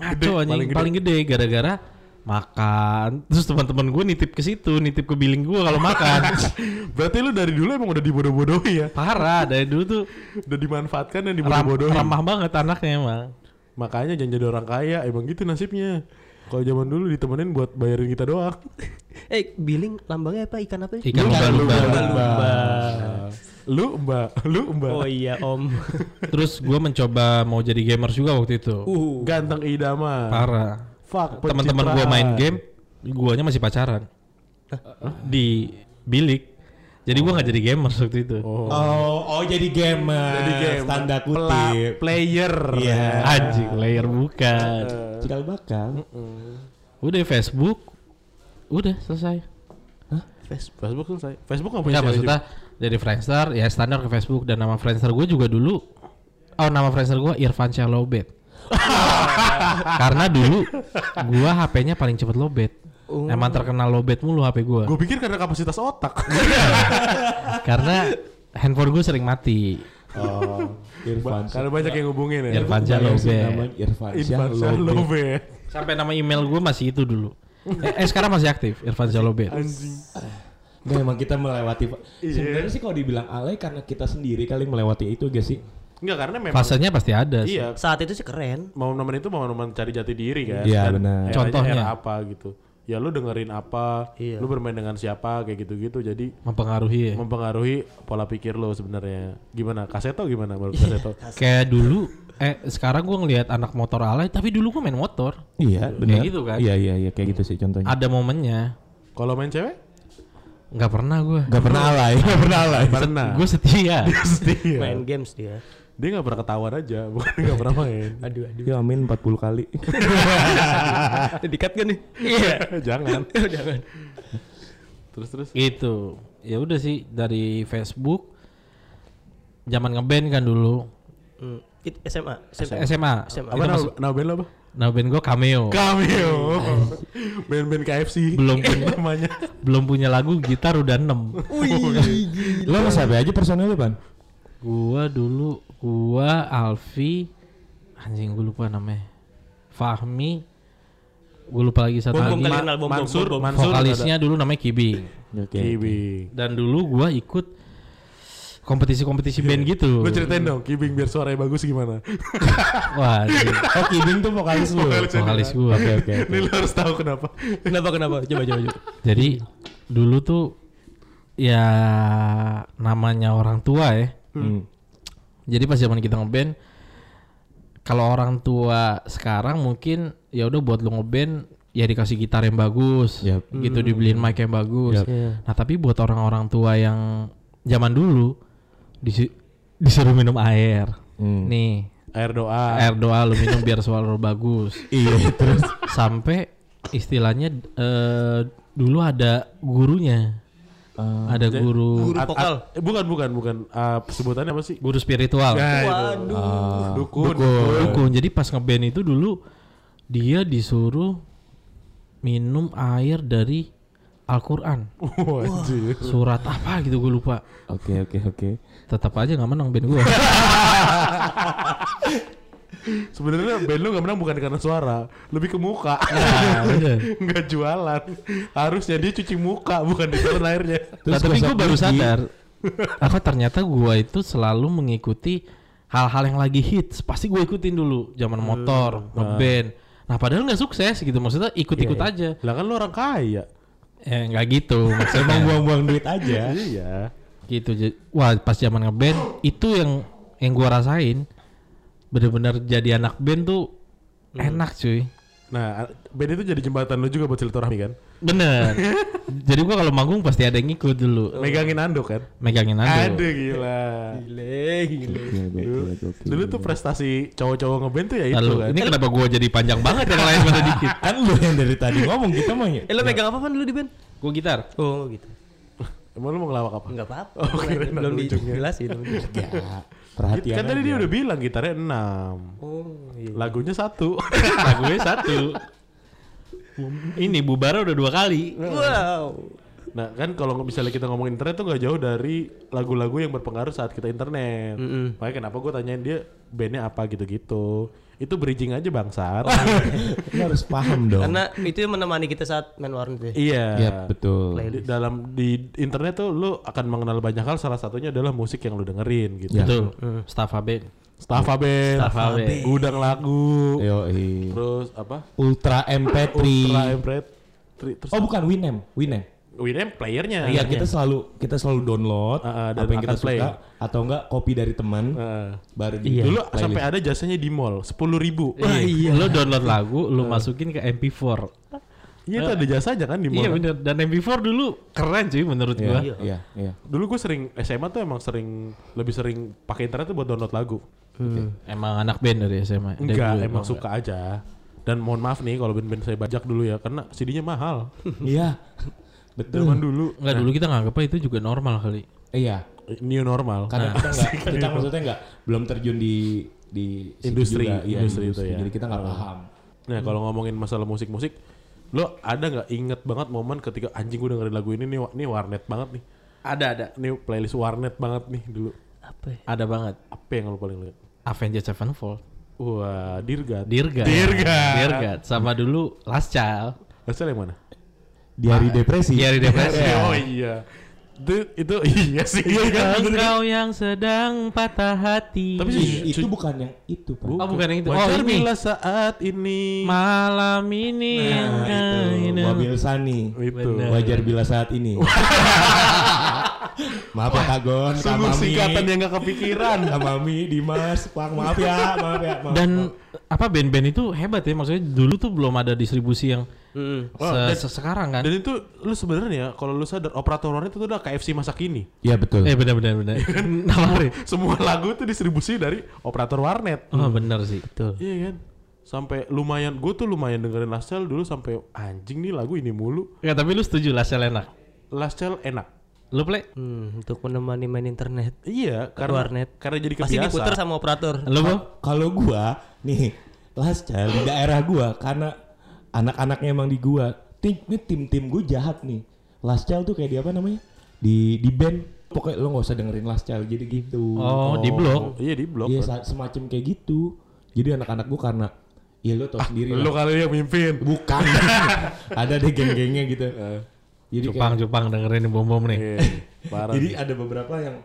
B: ngaco anjing
A: paling
B: paling
A: gede.
B: gede, gara-gara makan terus teman-teman gue nitip ke situ nitip ke billing gue kalau makan
A: Berarti lu dari dulu emang udah dibodoh-bodohi ya.
B: parah dari dulu tuh
A: Udah dimanfaatkan dan
B: ram
A: dibodoh-bodohi.
B: ramah banget anaknya emang
A: Makanya jangan jadi orang kaya, emang gitu nasibnya. Kalau zaman dulu ditemenin buat bayarin kita doang. Kan
D: Eh, billing lambangnya apa? Ikan apa?
B: ikan lumba-lumba
A: Lu mbak, lu mbak.
D: Oh iya, Om.
B: terus gue mencoba mau jadi gamers juga waktu itu
D: Uh.
A: Ganteng idaman.
B: parah
A: Fuck.
B: teman-teman gue
A: pencitraan.
B: main game guanya masih pacaran di bilik jadi gue nggak jadi gamers waktu itu
C: Oh, oh jadi gamer. Jadi
A: game.
C: Tanda
A: Pla-
C: kutip.
A: player.
C: Iya.
B: anjing layer bukan
C: Cikal bakal.
B: udah Facebook udah selesai
D: Facebook.
A: Facebook selesai. Facebook nggak punya
B: Enggak
A: cewek
B: Iya, maksudnya dari Friendster ya standar ke Facebook dan nama Friendster gue juga dulu oh nama Friendster gue Irfan Syah Lobet karena dulu gua HP-nya paling cepet lobet
A: Oh.
B: emang terkenal lobet mulu HP gua
A: Gue pikir karena kapasitas otak.
B: karena handphone gue sering mati
C: Oh, Irfan.
A: karena banyak yang ngubungin ya.
B: Irfan Syah Lobet
C: Namanya Irfan Syah
A: Irfan Syah
C: Lobet.
A: Lobe.
B: sampai nama email gue masih itu dulu eh, eh, sekarang masih aktif Irfan Syah Lobet
A: Anjing.
C: Nggak, emang kita melewati sebenarnya sih kalau dibilang alay karena kita sendiri kali melewati itu gak sih
A: Enggak karena memang
B: fasenya pasti ada sih.
A: iya
D: Saat itu sih keren.
A: momen-momen itu momen-momen cari jati diri kan.
C: Iya,
A: Dan
C: benar.
A: eranya
B: Contohnya.
A: era apa gitu. Ya lu dengerin apa,
D: Iya. Eh.
A: lu bermain dengan siapa kayak gitu-gitu. Jadi
B: mempengaruhi ya.
A: mempengaruhi pola pikir lu sebenarnya. Gimana? Kaseto gimana menurut
D: Iya.
A: Kaseto?
B: kayak dulu eh sekarang gua ngelihat anak motor alay tapi dulu gua main motor
C: Iya, benar.
B: gitu kan?
C: Iya, iya, iya, kayak gitu sih contohnya.
B: ada momennya
A: Kalau main cewek?
B: Nggak pernah gue.
C: Gak pernah alay, gak pernah alay.
A: Pernah.
B: Gue setia.
A: Setia.
D: main games dia
A: Dia nggak pernah ketahuan aja, bukan nggak pernah main.
D: aduh aduh
C: Ya amin 40 kali.
D: dikat kan nih
B: Iya.
A: Eh, Jangan.
D: jangan
A: Terus terus.
B: gitu. Ya udah sih dari Facebook. Zaman ngeband kan dulu.
D: Hmm, itu SMA
B: SMA.
D: SMA SMA.
A: Apa
B: Itu
A: nama
B: masuk-
A: nama band lo apa?
B: Nah band gue cameo.
A: Cameo. Band-band KFC.
B: Belum punya.
A: namanya.
B: Belum punya lagu gitar udah 6
C: Lo sama siapa aja personelnya, Pan?
B: Gua dulu, gua Alfi, anjing gua lupa namanya, Fahmi, gua lupa lagi satu
D: Bom-bom
B: lagi.
D: kali kenal bom-bom,
A: Mansur,
D: bom-bom.
A: Mansur.
B: Vokalisnya dulu namanya Kibing.
A: Kibing.
B: Dan dulu gua ikut kompetisi-kompetisi band gitu.
A: Lu ceritain dong, Kibing biar suaranya bagus gimana?
B: Wah, anjing.
C: Oh, Kibing tuh vokalis lu.
B: vokalis gua.
C: Oke, oke.
A: Ini lu harus tahu kenapa.
D: kenapa kenapa coba coba coba
B: Jadi dulu tuh ya namanya orang tua ya.
C: Hmm.
B: Jadi pas zaman kita ngeband kalau orang tua sekarang mungkin ya udah buat lu ngeband ya dikasih gitar yang bagus,
C: Yap. Hmm.
B: gitu dibeliin mic yang bagus.
C: Yap.
B: Nah, tapi buat orang-orang tua yang zaman dulu disi- disuruh minum air.
C: Hmm.
B: Nih,
A: Air doa.
B: air doa lu minum biar suara lu bagus.
C: Iya, terus
B: Sampai istilahnya eh, dulu ada gurunya. ada guru
D: guru vokal
A: At- eh, bukan bukan bukan Ah, sebutannya apa sih?
B: guru spiritual.
A: Nah, itu.
D: waduh
A: dukun.
B: Ya, Dukun. Jadi pas ngeband itu dulu dia disuruh minum air dari Al-Qur'an.
A: Wajib.
B: Surat apa gitu gue lupa.
C: Oke, oke, oke.
B: Tetap aja nggak menang band gue.
A: Sebenarnya band lu gak menang bukan karena suara, lebih ke muka. Nggak jualan. Harusnya dia cuci muka bukan di telan airnya.
B: nah,
C: Terus
B: tapi gue
C: besok
B: baru
C: pagi-
B: sadar aku ternyata gue itu selalu mengikuti hal-hal yang lagi hits pasti gue ikutin dulu zaman motor ngeband nah padahal nggak sukses gitu maksudnya ikut-ikut aja
A: Lah kan lu orang kaya.
B: eh nggak gitu maksudnya
C: Emang buang-buang duit aja.
A: Iya.
B: gitu Ja- wah pas zaman ngeband itu yang yang gue rasain bener-bener jadi anak band tuh enak cuy
A: Nah, band itu jadi jembatan lu juga buat silaturahmi kan?
B: bener jadi gue kalau manggung pasti ada yang ngikut dulu
A: Megangin anduk kan?
B: megangin
A: Aduh
B: anduk
A: gila.
C: Gokil,
A: Dulu,
C: gokil, gokil.
A: dulu tuh prestasi cowok-cowok ngeband tuh ya itu
B: lalu
A: kan.
B: ini kenapa gue jadi panjang banget ya yang lain pada dikit
C: kan lu yang dari tadi ngomong kita mau ya.
A: Kan
D: eh lo megang apa pan dulu di band
B: gue gitar
D: oh gitu
A: Emang lu mau ngelawak apa?
D: nggak apa-apa
A: Oh, kirain
D: belum
A: ada ujungnya.
D: dijelasin
C: Perhatian.
A: Kan tadi
C: aja.
A: dia udah bilang gitarnya 6.
D: oh iya
A: Lagunya satu.
B: lagunya satu ini bubar udah dua kali
D: wow
A: Nah kan kalau misalnya kita ngomong internet tuh nggak jauh dari lagu-lagu yang berpengaruh saat kita internet. Makanya kenapa gue tanyain dia bandnya apa gitu-gitu. Itu bridging aja bangsat.
C: Oh. Lu harus paham dong.
D: karena itu yang menemani kita saat main warnet ya
A: iya.
C: Yap, betul.
A: Di, dalam di internet tuh lu akan mengenal banyak hal. Salah satunya adalah musik yang lu dengerin gitu.
C: Ya.
B: betul staff AB
A: Staffa band,
B: Staffa band.
A: gudang lagu,
C: Yo,
B: Iya.
A: terus apa?
C: Ultra MP3.
A: Ultra Empret, tri- terus
C: Oh, bukan Winem, Winem.
A: Winem playernya.
C: Iya, kita selalu kita selalu download
A: Ah, ah, dan
C: apa yang kita
A: akan play.
C: suka atau enggak copy dari teman
A: Heeh.
C: baru di Iya,
A: Dulu sampai ada jasanya di mall, sepuluh ribu.
B: iya. lo download lagu lo masukin ke MP4
A: Iya itu ada jasanya kan di mall.
B: iya
A: kan?
B: bener dan MP4 dulu keren cuy menurut
C: Iya,
B: gua
C: iya, iya.
A: Dulu gue sering SMA tuh emang sering lebih sering pakai internet tuh buat download lagu.
B: emang anak band dari SMA Dari
A: Enggak,
B: gua.
A: emang suka aja. Dan mohon maaf nih kalau band-band saya bajak dulu ya karena CD-nya mahal.
C: Iya. Betul.
A: Zaman dulu Nah,
B: Enggak dulu kita nganggapnya itu juga normal kali
C: Iya.
A: new normal.
C: Karena kita enggak kita maksudnya enggak belum terjun di di situ
A: Industri,
C: juga. Iya,
A: industri itu ya.
C: Jadi kita enggak paham.
B: Hmm.
A: Nah, kalau ngomongin masalah musik-musik, lo ada nggak inget banget momen ketika anjing gue dengerin lagu ini nih, wa- nih warnet banget nih.
B: ada ada
A: Ini playlist warnet banget nih dulu.
D: apa ya?
B: ada banget
A: Apa yang lo paling lihat?
B: Avenged Sevenfold
A: Wah, Dirga.
B: Dirga
A: Dirga.
B: Dirga sama dulu Last Child
A: Hasil yang mana?
C: Di
A: Ah.
C: hari depresi.
B: Diary Depresi
A: Oh iya. Itu, itu iya sih. Iya, kan?
B: Engkau yang sedang patah hati
A: Tapi
C: Ih,
A: sih,
C: Iya, itu bukan yang itu, Pak.
B: Oh, bukan yang itu.
A: Wajar
B: Oh, ini.
A: bila saat ini.
B: Malam ini yang
C: Nah, itu.
B: kau-
C: Wabil Sani.
A: itu.
C: Wajar bila saat ini. maaf ya Kak Gon, Kak
A: Sungguh
C: Mami.
A: singkatan yang gak kepikiran.
C: Kak Mami, Dimas, Pang, maaf ya, maaf ya. Maaf,
B: Dan apa band-band itu hebat ya maksudnya dulu tuh belum ada distribusi yang
D: Mm.
A: Wow,
B: se-
A: dan-
B: se- sekarang kan.
A: Dan itu lu sebenarnya kalau lu sadar operator warnet itu udah KFC masa kini.
C: Iya betul.
B: Eh benar benar benar. Nawarin.
A: Semua lagu itu distribusi dari operator warnet.
B: Oh benar sih.
D: Betul.
A: Iya kan? Sampai lumayan, gue tuh lumayan dengerin Last Child dulu sampai anjing nih lagu ini mulu.
B: Ya tapi lu setuju lah sel enak.
A: Last Child enak.
B: Lu play?
D: Hmm, untuk menemani main internet.
A: Iya, karena
D: warnet.
A: karena jadi
D: Pasti
A: kebiasaan.
D: diputer sama operator.
B: Lu Bo?
C: Kalau gua nih last child di daerah gua karena anak-anaknya emang di gua. Tim ini tim-tim gua jahat nih. Last child tuh kayak di apa namanya? Di di band pokoknya lo nggak usah dengerin last child jadi gitu.
B: Oh, di blok.
A: Iya di blok.
C: Iya sa- semacam kayak gitu. Jadi anak-anak gua karena ya lo tau
A: Ah,
C: sendiri
A: Lu
C: lah.
A: kali yang mimpin.
C: Bukan. ada deh geng-gengnya gitu.
A: Eh,
C: Jadi
B: Jepang Jepang dengerin bom bom nih.
A: Parah.
C: Jadi ada beberapa yang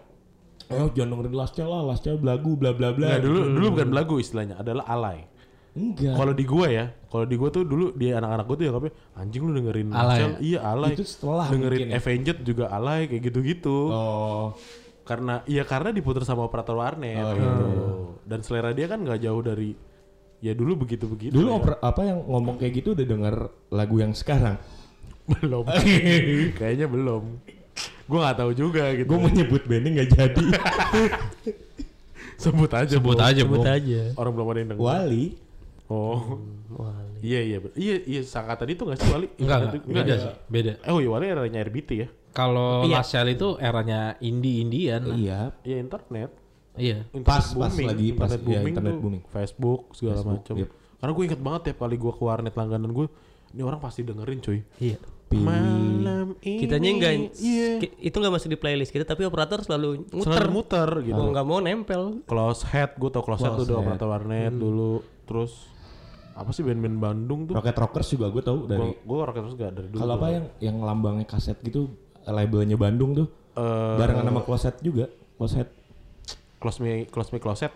C: Oh jangan dengerin Last Child lah, Last Child belagu bla bla bla.
A: Nah, dulu dulu bukan lagu istilahnya, adalah alay.
C: Enggak.
A: Kalau di gua ya, kalau di gua tuh dulu di anak-anak gua tuh ya katanya anjing lu dengerin
B: Alay.
A: Marcel, iya alay.
C: Itu setelah
A: dengerin
C: mungkin ya.
A: Avenged juga alay kayak gitu-gitu.
C: Oh.
A: Karena iya karena diputer sama operator warnet
C: Oh,
A: gitu. Dan selera dia kan nggak jauh dari ya dulu begitu-begitu.
C: Dulu
A: ya.
C: opera- apa yang ngomong kayak gitu udah denger lagu yang sekarang.
A: belum. Kayaknya belum. Gua nggak tahu juga gitu.
C: Gue mau nyebut bandnya nggak jadi.
A: sebut aja,
B: Iya. Sebut
A: Bo.
B: aja, Bo.
D: Sebut aja.
A: Orang belum ada yang denger.
C: Wali.
A: Oh.
D: Wali.
A: Iya iya bener. iya iya sangkatan itu nggak sih Wali?
B: Enggak,
A: Itu-
B: enggak. Beda
A: ya?
B: sih, beda.
A: Oh iya Wali eranya RBT ya.
B: Kalau
D: Iya.
B: Last Sel itu eranya indie-indian. lah.
C: Iya.
A: Iya internet.
B: Iya.
A: internet
C: Pas- pas lagi, pas-
A: internet
C: iya,
A: booming,
C: internet
A: tuh
C: booming.
A: Facebook segala
C: Facebook,
A: macam.
C: yep.
A: Karena gue inget banget tiap kali gue ke warnet langganan gue, ini orang pasti dengerin cuy.
D: Iya.
C: Pilih.
A: Malam ini.
D: Kitanya enggak
A: iya.
D: ki- itu enggak masuk di playlist kita tapi operator selalu muter.
A: Selalu muter gitu.
D: Mau enggak mau nempel.
A: Close head, gue tau close, head tuh
C: Oh,
A: udah
C: Close Head. Hmm.
A: operator warnet dulu. Terus apa sih band-band Bandung tuh?
C: Rocket Rockers juga gue tahu dari.
A: Gue rocket terus gak dari dulu.
C: Kalau apa yang yang lambangnya kaset gitu labelnya Bandung tuh.
A: Eh,
C: barengan sama Closet juga. Closet
A: close me, close me closet.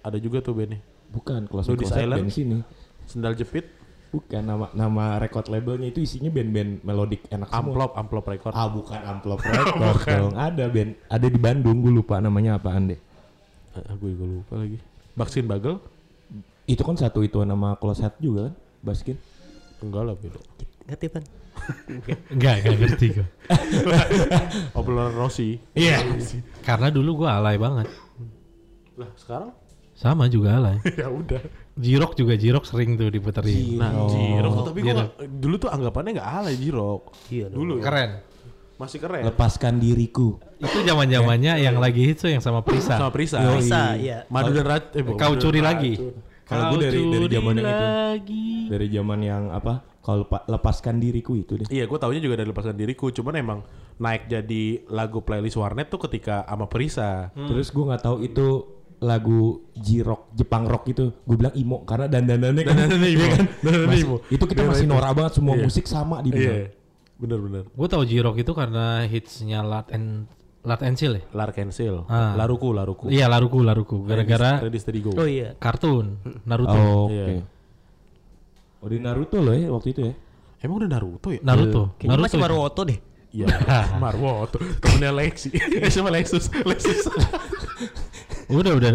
A: Ada juga tuh bandnya.
C: bukan Closet
A: Ludis
C: Closet
A: Island?
C: band sini.
A: Sendal jepit,
C: Bukan nama nama record labelnya itu isinya band-band melodic enak semua.
A: amplop, amplop record.
C: Ah bukan amplop record dong. Ada band ada di Bandung gue lupa namanya apaan deh.
A: Ah, gue gue lupa lagi. Vaksin bagel?
C: Itu kan satu itu nama Closet juga kan Baskin.
A: Enggak lah beda.
D: Ngerti, Pan?
B: Enggak, enggak ngerti gua.
A: Obrolan Rossi.
B: Iya. Karena dulu gua alay banget.
A: Lah sekarang?
B: Sama juga alay.
A: ya udah.
B: Jirok juga Jirok sering tuh diputerin.
A: Nah,
C: Oh,
A: Jirok tuh
C: iya
A: tapi gua
B: Jirok.
A: nggak- dulu tuh anggapannya nggak alay Jirok.
D: Iya dong.
A: Dulu ya.
B: Keren.
A: Masih keren.
C: Lepaskan diriku.
B: Itu zaman-zamannya yang lagi hits tuh yang sama Prisa.
A: Ya. Sama Prisa.
D: Bisa, iya.
A: Madu dan Rat eh, bukan. Madu
B: Kau
A: dan
B: curi
A: Racun.
B: lagi.
C: Kalau gue dari dari zaman yang itu.
B: lagi.
C: Dari zaman yang apa? Kalau lepa- lepaskan diriku itu deh.
A: Iya, gue taunya juga dari lepasan diriku. Cuman emang naik jadi lagu playlist warnet tuh ketika sama Prisa.
B: Hmm.
C: Terus gue nggak tahu itu lagu J-rock Jepang rock itu gue bilang imo karena dandanannya kan,
A: Dandanannya emo.
C: Iya kan?
A: Dandanannya
C: Masih-
A: emo.
C: itu kita masih
A: Dandanannya
C: norak banget semua
A: Iya.
C: musik sama di
A: Iya. Bener-bener.
B: Gue tau Jirok itu karena hitsnya Lat and Lat and Seal ya.
A: Larkensil.
B: Ah.
A: Laruku, Laruku.
B: Iya laruku laruku gara-gara
A: Ready Steady Go.
D: Oh iya.
B: kartun Naruto.
C: Oh, oke.
A: Iya.
C: Oh di Naruto loh ya waktu itu ya.
A: Emang udah Naruto ya?
C: iya.
B: Naruto.
D: Kayaknya
B: Naruto.
D: masih
B: itu.
D: Maruoto deh.
A: Iya. Marwo tuh. Temennya Lexi. Eh, sama Lexus. Lexus.
B: Udah udah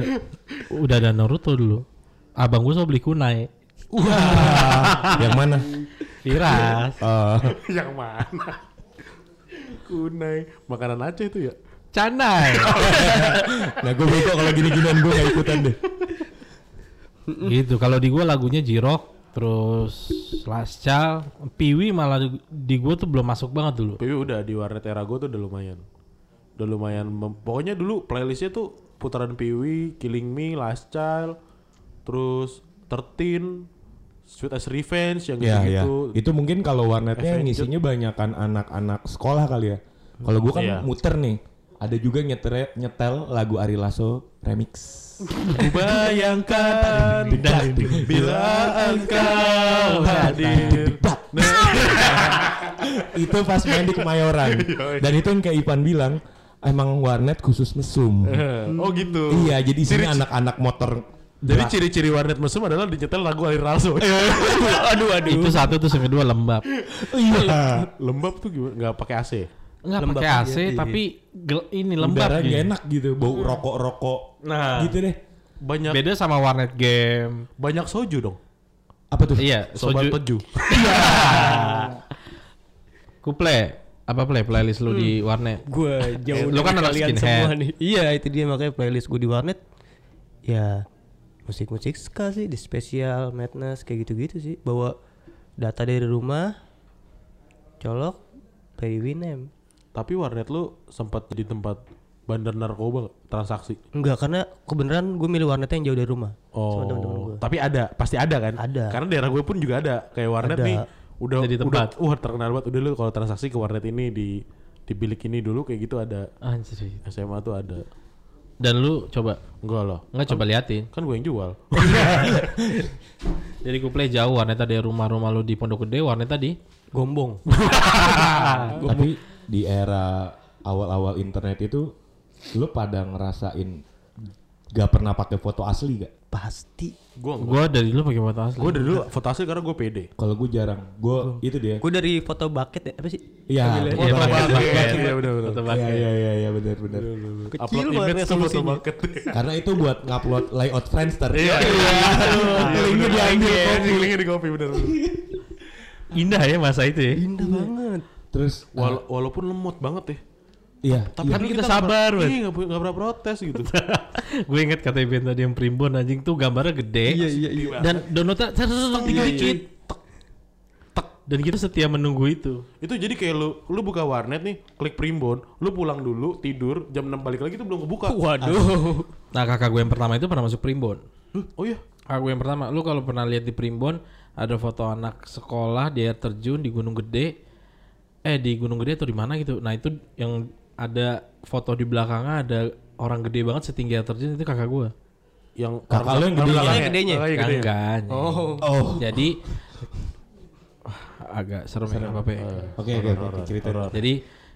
B: udah ada Naruto dulu. Abang gue so beli kunai.
C: yang mana?
B: Tiras.
C: Eh,
A: Yang mana? Kunai. Makanan Aceh itu ya?
B: Canai.
C: nah gue bego kalau gini-ginian gue gak ikutan deh.
B: gitu. Kalau di gue lagunya Jirok terus Last Child, Piwi malah di, gue tuh belum masuk banget dulu.
A: PW Iya, udah di warnet era gue tuh udah lumayan. Udah lumayan. mem- Pokoknya dulu playlistnya tuh putaran PW, Killing Me, Last Child, terus 13, Sweet as Revenge, yang
C: Ya ya.
A: gitu-gitu.
C: Itu mungkin kalau warnetnya
A: Avenged.
C: ngisinya banyakan anak-anak sekolah kali ya. Kalau gue kan
A: Iya.
C: muter nih. Ada juga nyetel nyetel lagu Ari Lasso remix.
A: Ku Bayangkan bila engkau hadir. Nah,
C: itu pas main di Kemayoran. Dan itu yang kayak Ipan bilang, emang warnet khusus mesum.
A: Oh gitu.
C: iya, jadi
A: Ciri-
C: isinya anak-anak motor.
A: Jadi
C: berat.
A: ciri-ciri warnet mesum adalah dicetel lagu Ari Raso.
B: Itu satu tuh yang kedua lembab.
C: iya.
A: Lembab tuh gimana? Gak pakai AC.
B: Enggak
D: Lembab
B: pakai
D: aja,
B: AC
D: iya.
B: tapi gel- ini lembab
C: Udara
B: gitu.
C: nggak enak gitu, bau rokok-rokok
B: Nah,
C: gitu deh.
A: Banyak
B: beda sama warnet game.
A: banyak soju dong.
C: Apa tuh?
B: Iya,
A: Sobat
B: soju.
A: peju.
B: Kuple apa play playlist lu di warnet?
D: gue jauh
B: Lu kan
D: dari
B: anak
D: kalian
B: skinhead.
D: semua nih. Iya itu dia makanya playlist gue di warnet ya musik-musik ska sih di spesial madness kayak gitu-gitu sih bawa data dari rumah colok dari Winem
A: Tapi warnet lu sempat jadi tempat bandar narkoba nggak? transaksi.
D: enggak karena kebenaran gue milih warnet yang jauh dari rumah
A: Oh,
D: sama temen-temen gue
A: tapi ada, pasti ada kan?
D: Ada.
A: Karena daerah gue pun juga ada kayak warnet
D: Ada.
A: nih. Udah
B: Jadi tempat.
A: udah wah terkenal banget udah lu kalau transaksi ke warnet ini di di bilik ini dulu kayak gitu ada.
B: Anjir.
A: SMA tuh ada.
B: Dan lu coba
A: Enggak loh.
B: nggak coba liatin.
A: Kan gue yang jual.
B: Jadi kuple jauh warnet tadi rumah-rumah lu di Pondok Gede, warnet tadi.
D: gombong
C: Tapi di era awal-awal internet itu lu pada ngerasain gak pernah pakai foto asli gak?
D: pasti
A: gue
B: Gua dari dulu pakai foto asli.
A: gue dari dulu foto asli karena gue pede.
C: Kalau gue jarang, gue itu dia.
D: gue dari foto bucket ya apa sih
C: Iya,
B: Iya,
C: foto-
B: pakai
A: Iya, iya,
B: bucket.
A: benar-benar.
B: Foto
C: iya,
B: bucket.
C: iya, iya, iya, benar, benar.
A: Upload
D: banget
A: image sama foto
D: solusinya.
A: bucket.
C: Karena itu buat ngupload layout Friendster.
B: Iya.
A: Linknya diambil kopi. Linknya di kopi bener.
B: Indah ya masa itu ya.
D: indah banget
C: Terus,
A: Wala walaupun lemot banget ya.
C: iya, iya.
B: Tapi kita Kan sabar,
A: nggak-
B: Bud.
A: Iya nggak pu- nggak pernah protes gitu.
B: gue inget kata Ben tadi yang primbon anjing tuh gambarnya gede dan downloadnya ser- ser- ser- dikit dikit Tek, tek. iya. dan kita setia menunggu itu
A: itu jadi kayak lu lu buka warnet nih klik primbon lu pulang dulu tidur jam 6 balik lagi itu belum kebuka
D: waduh
B: nah kakak gue yang pertama itu pernah masuk primbon
A: Hmm, oh iya
B: kakak gue yang pertama lu kalau pernah lihat di primbon ada foto anak sekolah di air terjun di gunung gede eh di gunung gede atau di mana gitu nah itu yang ada foto di belakangnya ada orang gede banget setinggi air terjun itu kakak gue
A: yang
C: Kakak lu yang gedenya.
A: belakangnya.
D: Gedenya.
A: Belakangnya
B: Yang
A: gedenya.
B: enggak, anjing.
D: oh
C: Oh,
B: jadi Wah, agak serem, ya apa
C: oke, oke, oke, ceritain.
B: Jadi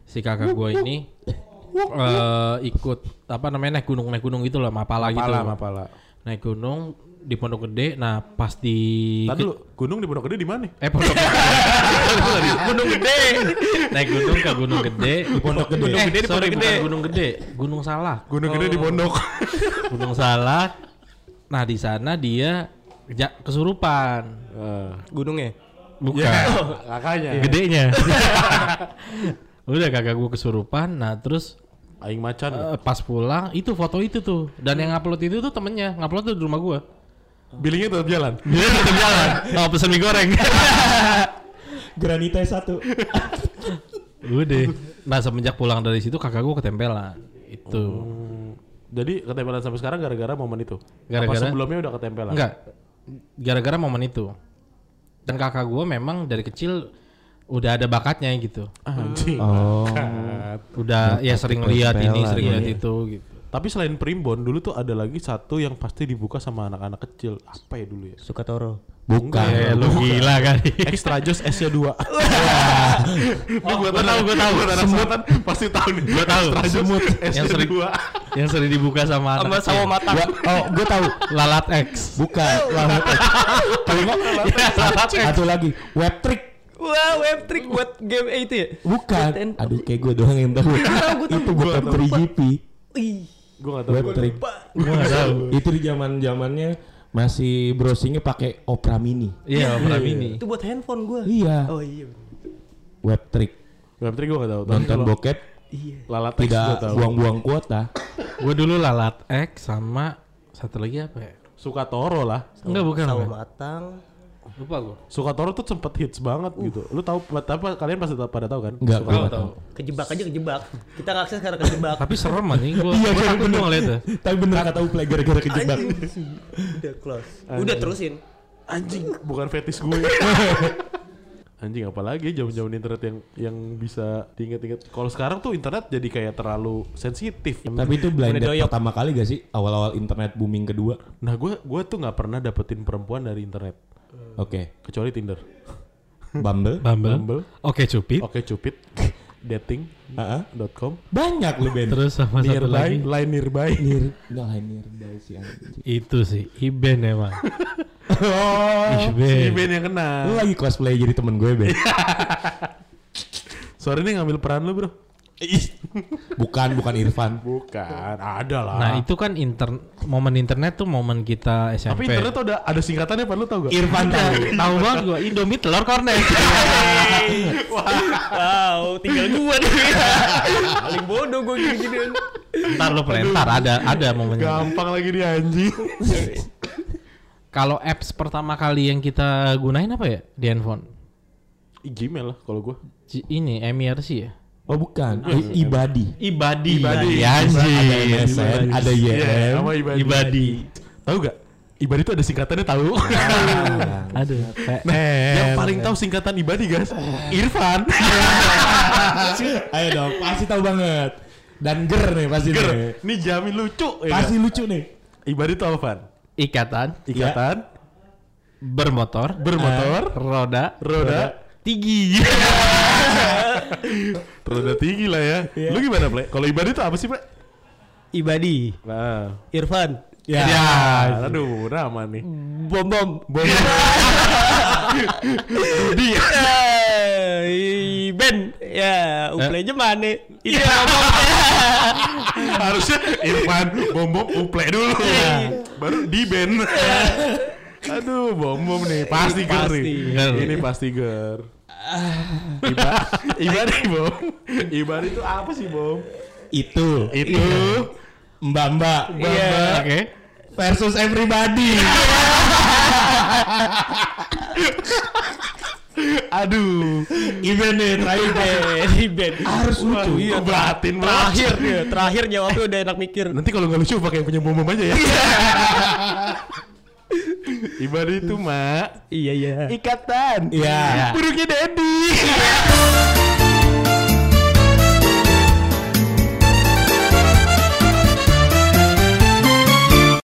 B: si kakak gue ini eh ikut apa namanya naik gunung naik gunung gitu lah mapala, gitu.
A: Mapala, mapala.
B: Naik gunung di Pondok Gede. Nah pas di
A: Tadi lu gunung di Pondok Gede di mana?
B: eh Pondok Gede. gunung Gede. Naik gunung ke Gunung Gede. Di
C: Pondok
A: Oh,
B: Eh,
C: Gede.
A: Gunung Gede di
B: sorry,
A: Pondok
B: bukan
A: Gede.
B: Gunung Gede. Gunung salah. Oh.
A: Gunung Gede di Pondok.
B: Gunung salah. Nah di sana dia ja- kesurupan.
D: gunungnya
B: Eh, Bukan.
A: Iya. Kakaknya.
B: Gedenya. Udah kakak gue kesurupan. Nah terus
A: Aing macan.
B: Eh, pas pulang itu foto itu tuh dan yang upload itu tuh temennya ngupload tuh di rumah gua
A: Billingnya tetap jalan.
B: dia tetap jalan oh pesen mie goreng
C: Granita satu.
B: udah nah semenjak pulang dari situ kakak gua ketempelan itu
A: Hmm. Jadi ketempelan sampai sekarang gara-gara momen itu.
B: Gara-gara?
A: Apa sebelumnya udah ketempelan?
B: enggak gara-gara momen itu dan kakak gua memang dari kecil udah ada bakatnya gitu
A: Anjing.
C: Oh,
B: udah ya sering lihat ini
C: ketempelan,
B: sering
C: iya.
B: lihat itu gitu
A: Tapi selain primbon dulu tuh ada lagi satu yang pasti dibuka sama anak-anak kecil. Apa ya dulu ya?
D: suka toro
C: bukan.
B: Eh, lu gila kali
A: Extra Joss S-nya 2.
B: oh, gua tahu gua tahu
A: Semut pasti tahu nih. Gua
B: tahu.
A: Extra Joss
B: Semut.
A: S-nya
B: Yang sering-
A: 2.
B: yang sering dibuka sama
D: sama
B: anak
D: sawo
B: kecil.
D: matang
C: oh, gue tahu.
B: lalat X
C: Bukan. Lalat X. Kalau nggak,
B: lalat X
C: satu lagi, web trick.
D: wah web trick buat game itu ya
C: Bukan. Aduh, kayak gue doang yang tahu. itu bukan 3GP.
D: Ih,
A: Gua enggak tahu.
C: Web trick.
B: gua nggak tahu
C: Itu di zaman zamannya masih browsingnya pakai Opera Mini.
B: Iya, Opera Mini.
D: itu buat handphone gue
C: Iya.
D: oh iya
C: Web trick.
A: Web trick gua enggak tahu. Tapi
C: Nonton
A: kalau
C: bokep
D: iya
A: Lalat X gua
C: tidak
A: tahu.
C: buang-buang kuota.
B: Gue dulu lalat X sama satu lagi apa ya?
A: Suka Toro lah.
B: Enggak bukan.
D: sawo
B: bukan.
D: matang
B: Lupa gue.
A: Suka Toro tuh sempet hits banget gitu. Lu tahu apa kalian pasti tahu- pada tahu kan?
C: Enggak,
A: Suka-
C: gue
B: Tahu
C: nggak tahu.
B: tahu.
D: kejebak aja kejebak kita ngakses karena kejebak
B: Tapi serem anjing gue. Iya, gue takut dong ngeliat tuh.
C: Tapi bener kata Uplay gara-gara kejebak.
D: udah close udah terusin
A: Anjing, bukan fetish gue. Anjing apalagi ya zaman-zaman internet yang yang bisa diinget-inget. Kalau sekarang tuh internet jadi kayak terlalu sensitif.
C: Tapi itu blind date
D: Doyok.
C: pertama kali gak sih? Awal-awal internet booming kedua.
A: Nah, gue gue tuh nggak pernah dapetin perempuan dari internet
C: Oke.
A: kecuali Tinder.
C: Bumble.
B: Bumble.
A: Bumble.
B: Oke, cupid.
A: Oke, Cupid. Dating.com.
C: Heeh. Banyak lu Ben.
B: Terus sama satu
A: Nearby,
B: lagi
A: line nearby.
C: Nir, nggak lain nir dari si anjing.
B: itu sih Iben ya, emang.
C: Oh,
A: Si
B: Iben.
A: Ben yang kena.
C: lu lagi cosplay jadi temen gue Ben.
A: Sorry nih ngambil peran lu, Bro.
C: Bukan, bukan Irfan.
A: Bukan, ada lah.
B: Nah itu kan intern momen internet tuh momen kita
A: Tapi
B: SMP.
A: internet tuh ada ada singkatannya Pan, lu tau gak?
B: Irfan tahu. tahu banget gua Indomie telur kornet.
D: Wow, tinggal gua nih. Paling bodoh gua gini-gini.
B: ntar lo pelentar ada ada momennya.
A: Gampang lagi dia anjing.
B: Kalau apps pertama kali yang kita gunain apa ya di handphone?
A: Ih, Gmail lah kalau gua.
B: Ci- Ini MIRC ya.
C: Oh bukan,
A: Iya,
C: I- Ibadi.
B: Ibadi.
A: Ibadi.
C: Ada
B: anjir.
C: MSN, ada
A: Iya,
C: YM.
A: sama Ibadi. Iya,
B: Ibadi.
A: Tahu gak? Ibadi tuh ada singkatannya tahu.
C: Ah,
B: Aduh.
A: Nah, yang paling tahu singkatan Ibadi guys, Irfan.
C: Ah, Ayo dong, pasti tahu banget. Dan ger nih pasti
A: Ger,
C: nih.
A: ini jamin lucu. ya
C: Pasti
A: nggak?
C: lucu nih.
A: Ibadi tuh apa? Fan?
B: Ikatan
A: Ikatan,
B: bermotor eh,
A: bermotor,
B: roda
A: roda,
B: tinggi.
A: roda tinggi lah ya.
C: Iya.
A: Lu gimana, Ple? Kalau Ibadi tuh apa sih, Ple?
D: Ibadi,
A: Nah,
D: Irfan,
C: Ya.
A: Iya. aduh, nama nih.
D: bom bom.
A: Bom.
D: Dia. Ben, ya, uplenya mana? Itu bom.
A: Harusnya Irfan bom bom uple dulu. Baru di band. Aduh, bom bom nih. Pasti ger
D: Pasti.
A: nih.
B: Ger.
A: Ini pasti ger. Iba, Ibadi bom. Ibadi itu apa sih Iya. bom?
C: Itu
A: Itu
C: Mbak-mbak
D: Iya.
B: Oke.
C: versus everybody.
A: aduh.
C: Event nih, terakhir deh.
D: Ben.
C: Harus lucu.
A: Iya, batin banget.
D: Terakhir dia, terakhir jawabnya udah enak mikir.
A: Nanti kalau nggak lucu pakai punya bom bom aja ya. Ibadi itu mak
D: Iya, iya.
A: ikatan.
C: Iya.
A: Burungnya Dedi.